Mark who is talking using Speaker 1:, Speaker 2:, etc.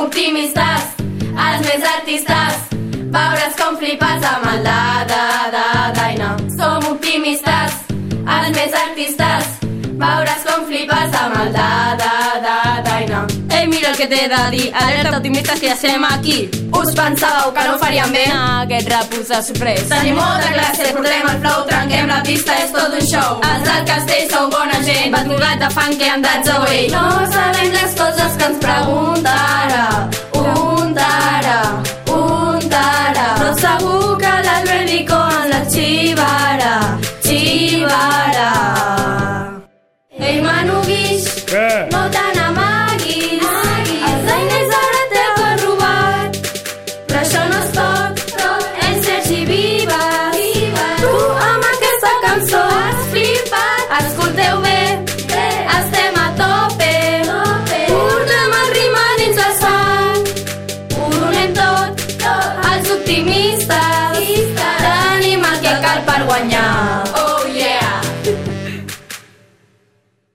Speaker 1: optimistes, els més artistes, veuràs com flipats amb el da, da, da, daina. Som optimistes, els més artistes, veuràs com flipats amb el da, da, da, daina.
Speaker 2: Ei, mira el que t'he de dir, alerta optimistes que ja estem aquí.
Speaker 1: Us pensàveu que no faríem bé?
Speaker 2: Aquest repús de sorprès.
Speaker 1: Tenim molta classe, portem el flow, trenquem la pista, és tot un show. Els del castell sou bona gent,
Speaker 2: Bat de fan que han dat
Speaker 1: that's away. No sabem les coses que ens pregunten, Oh,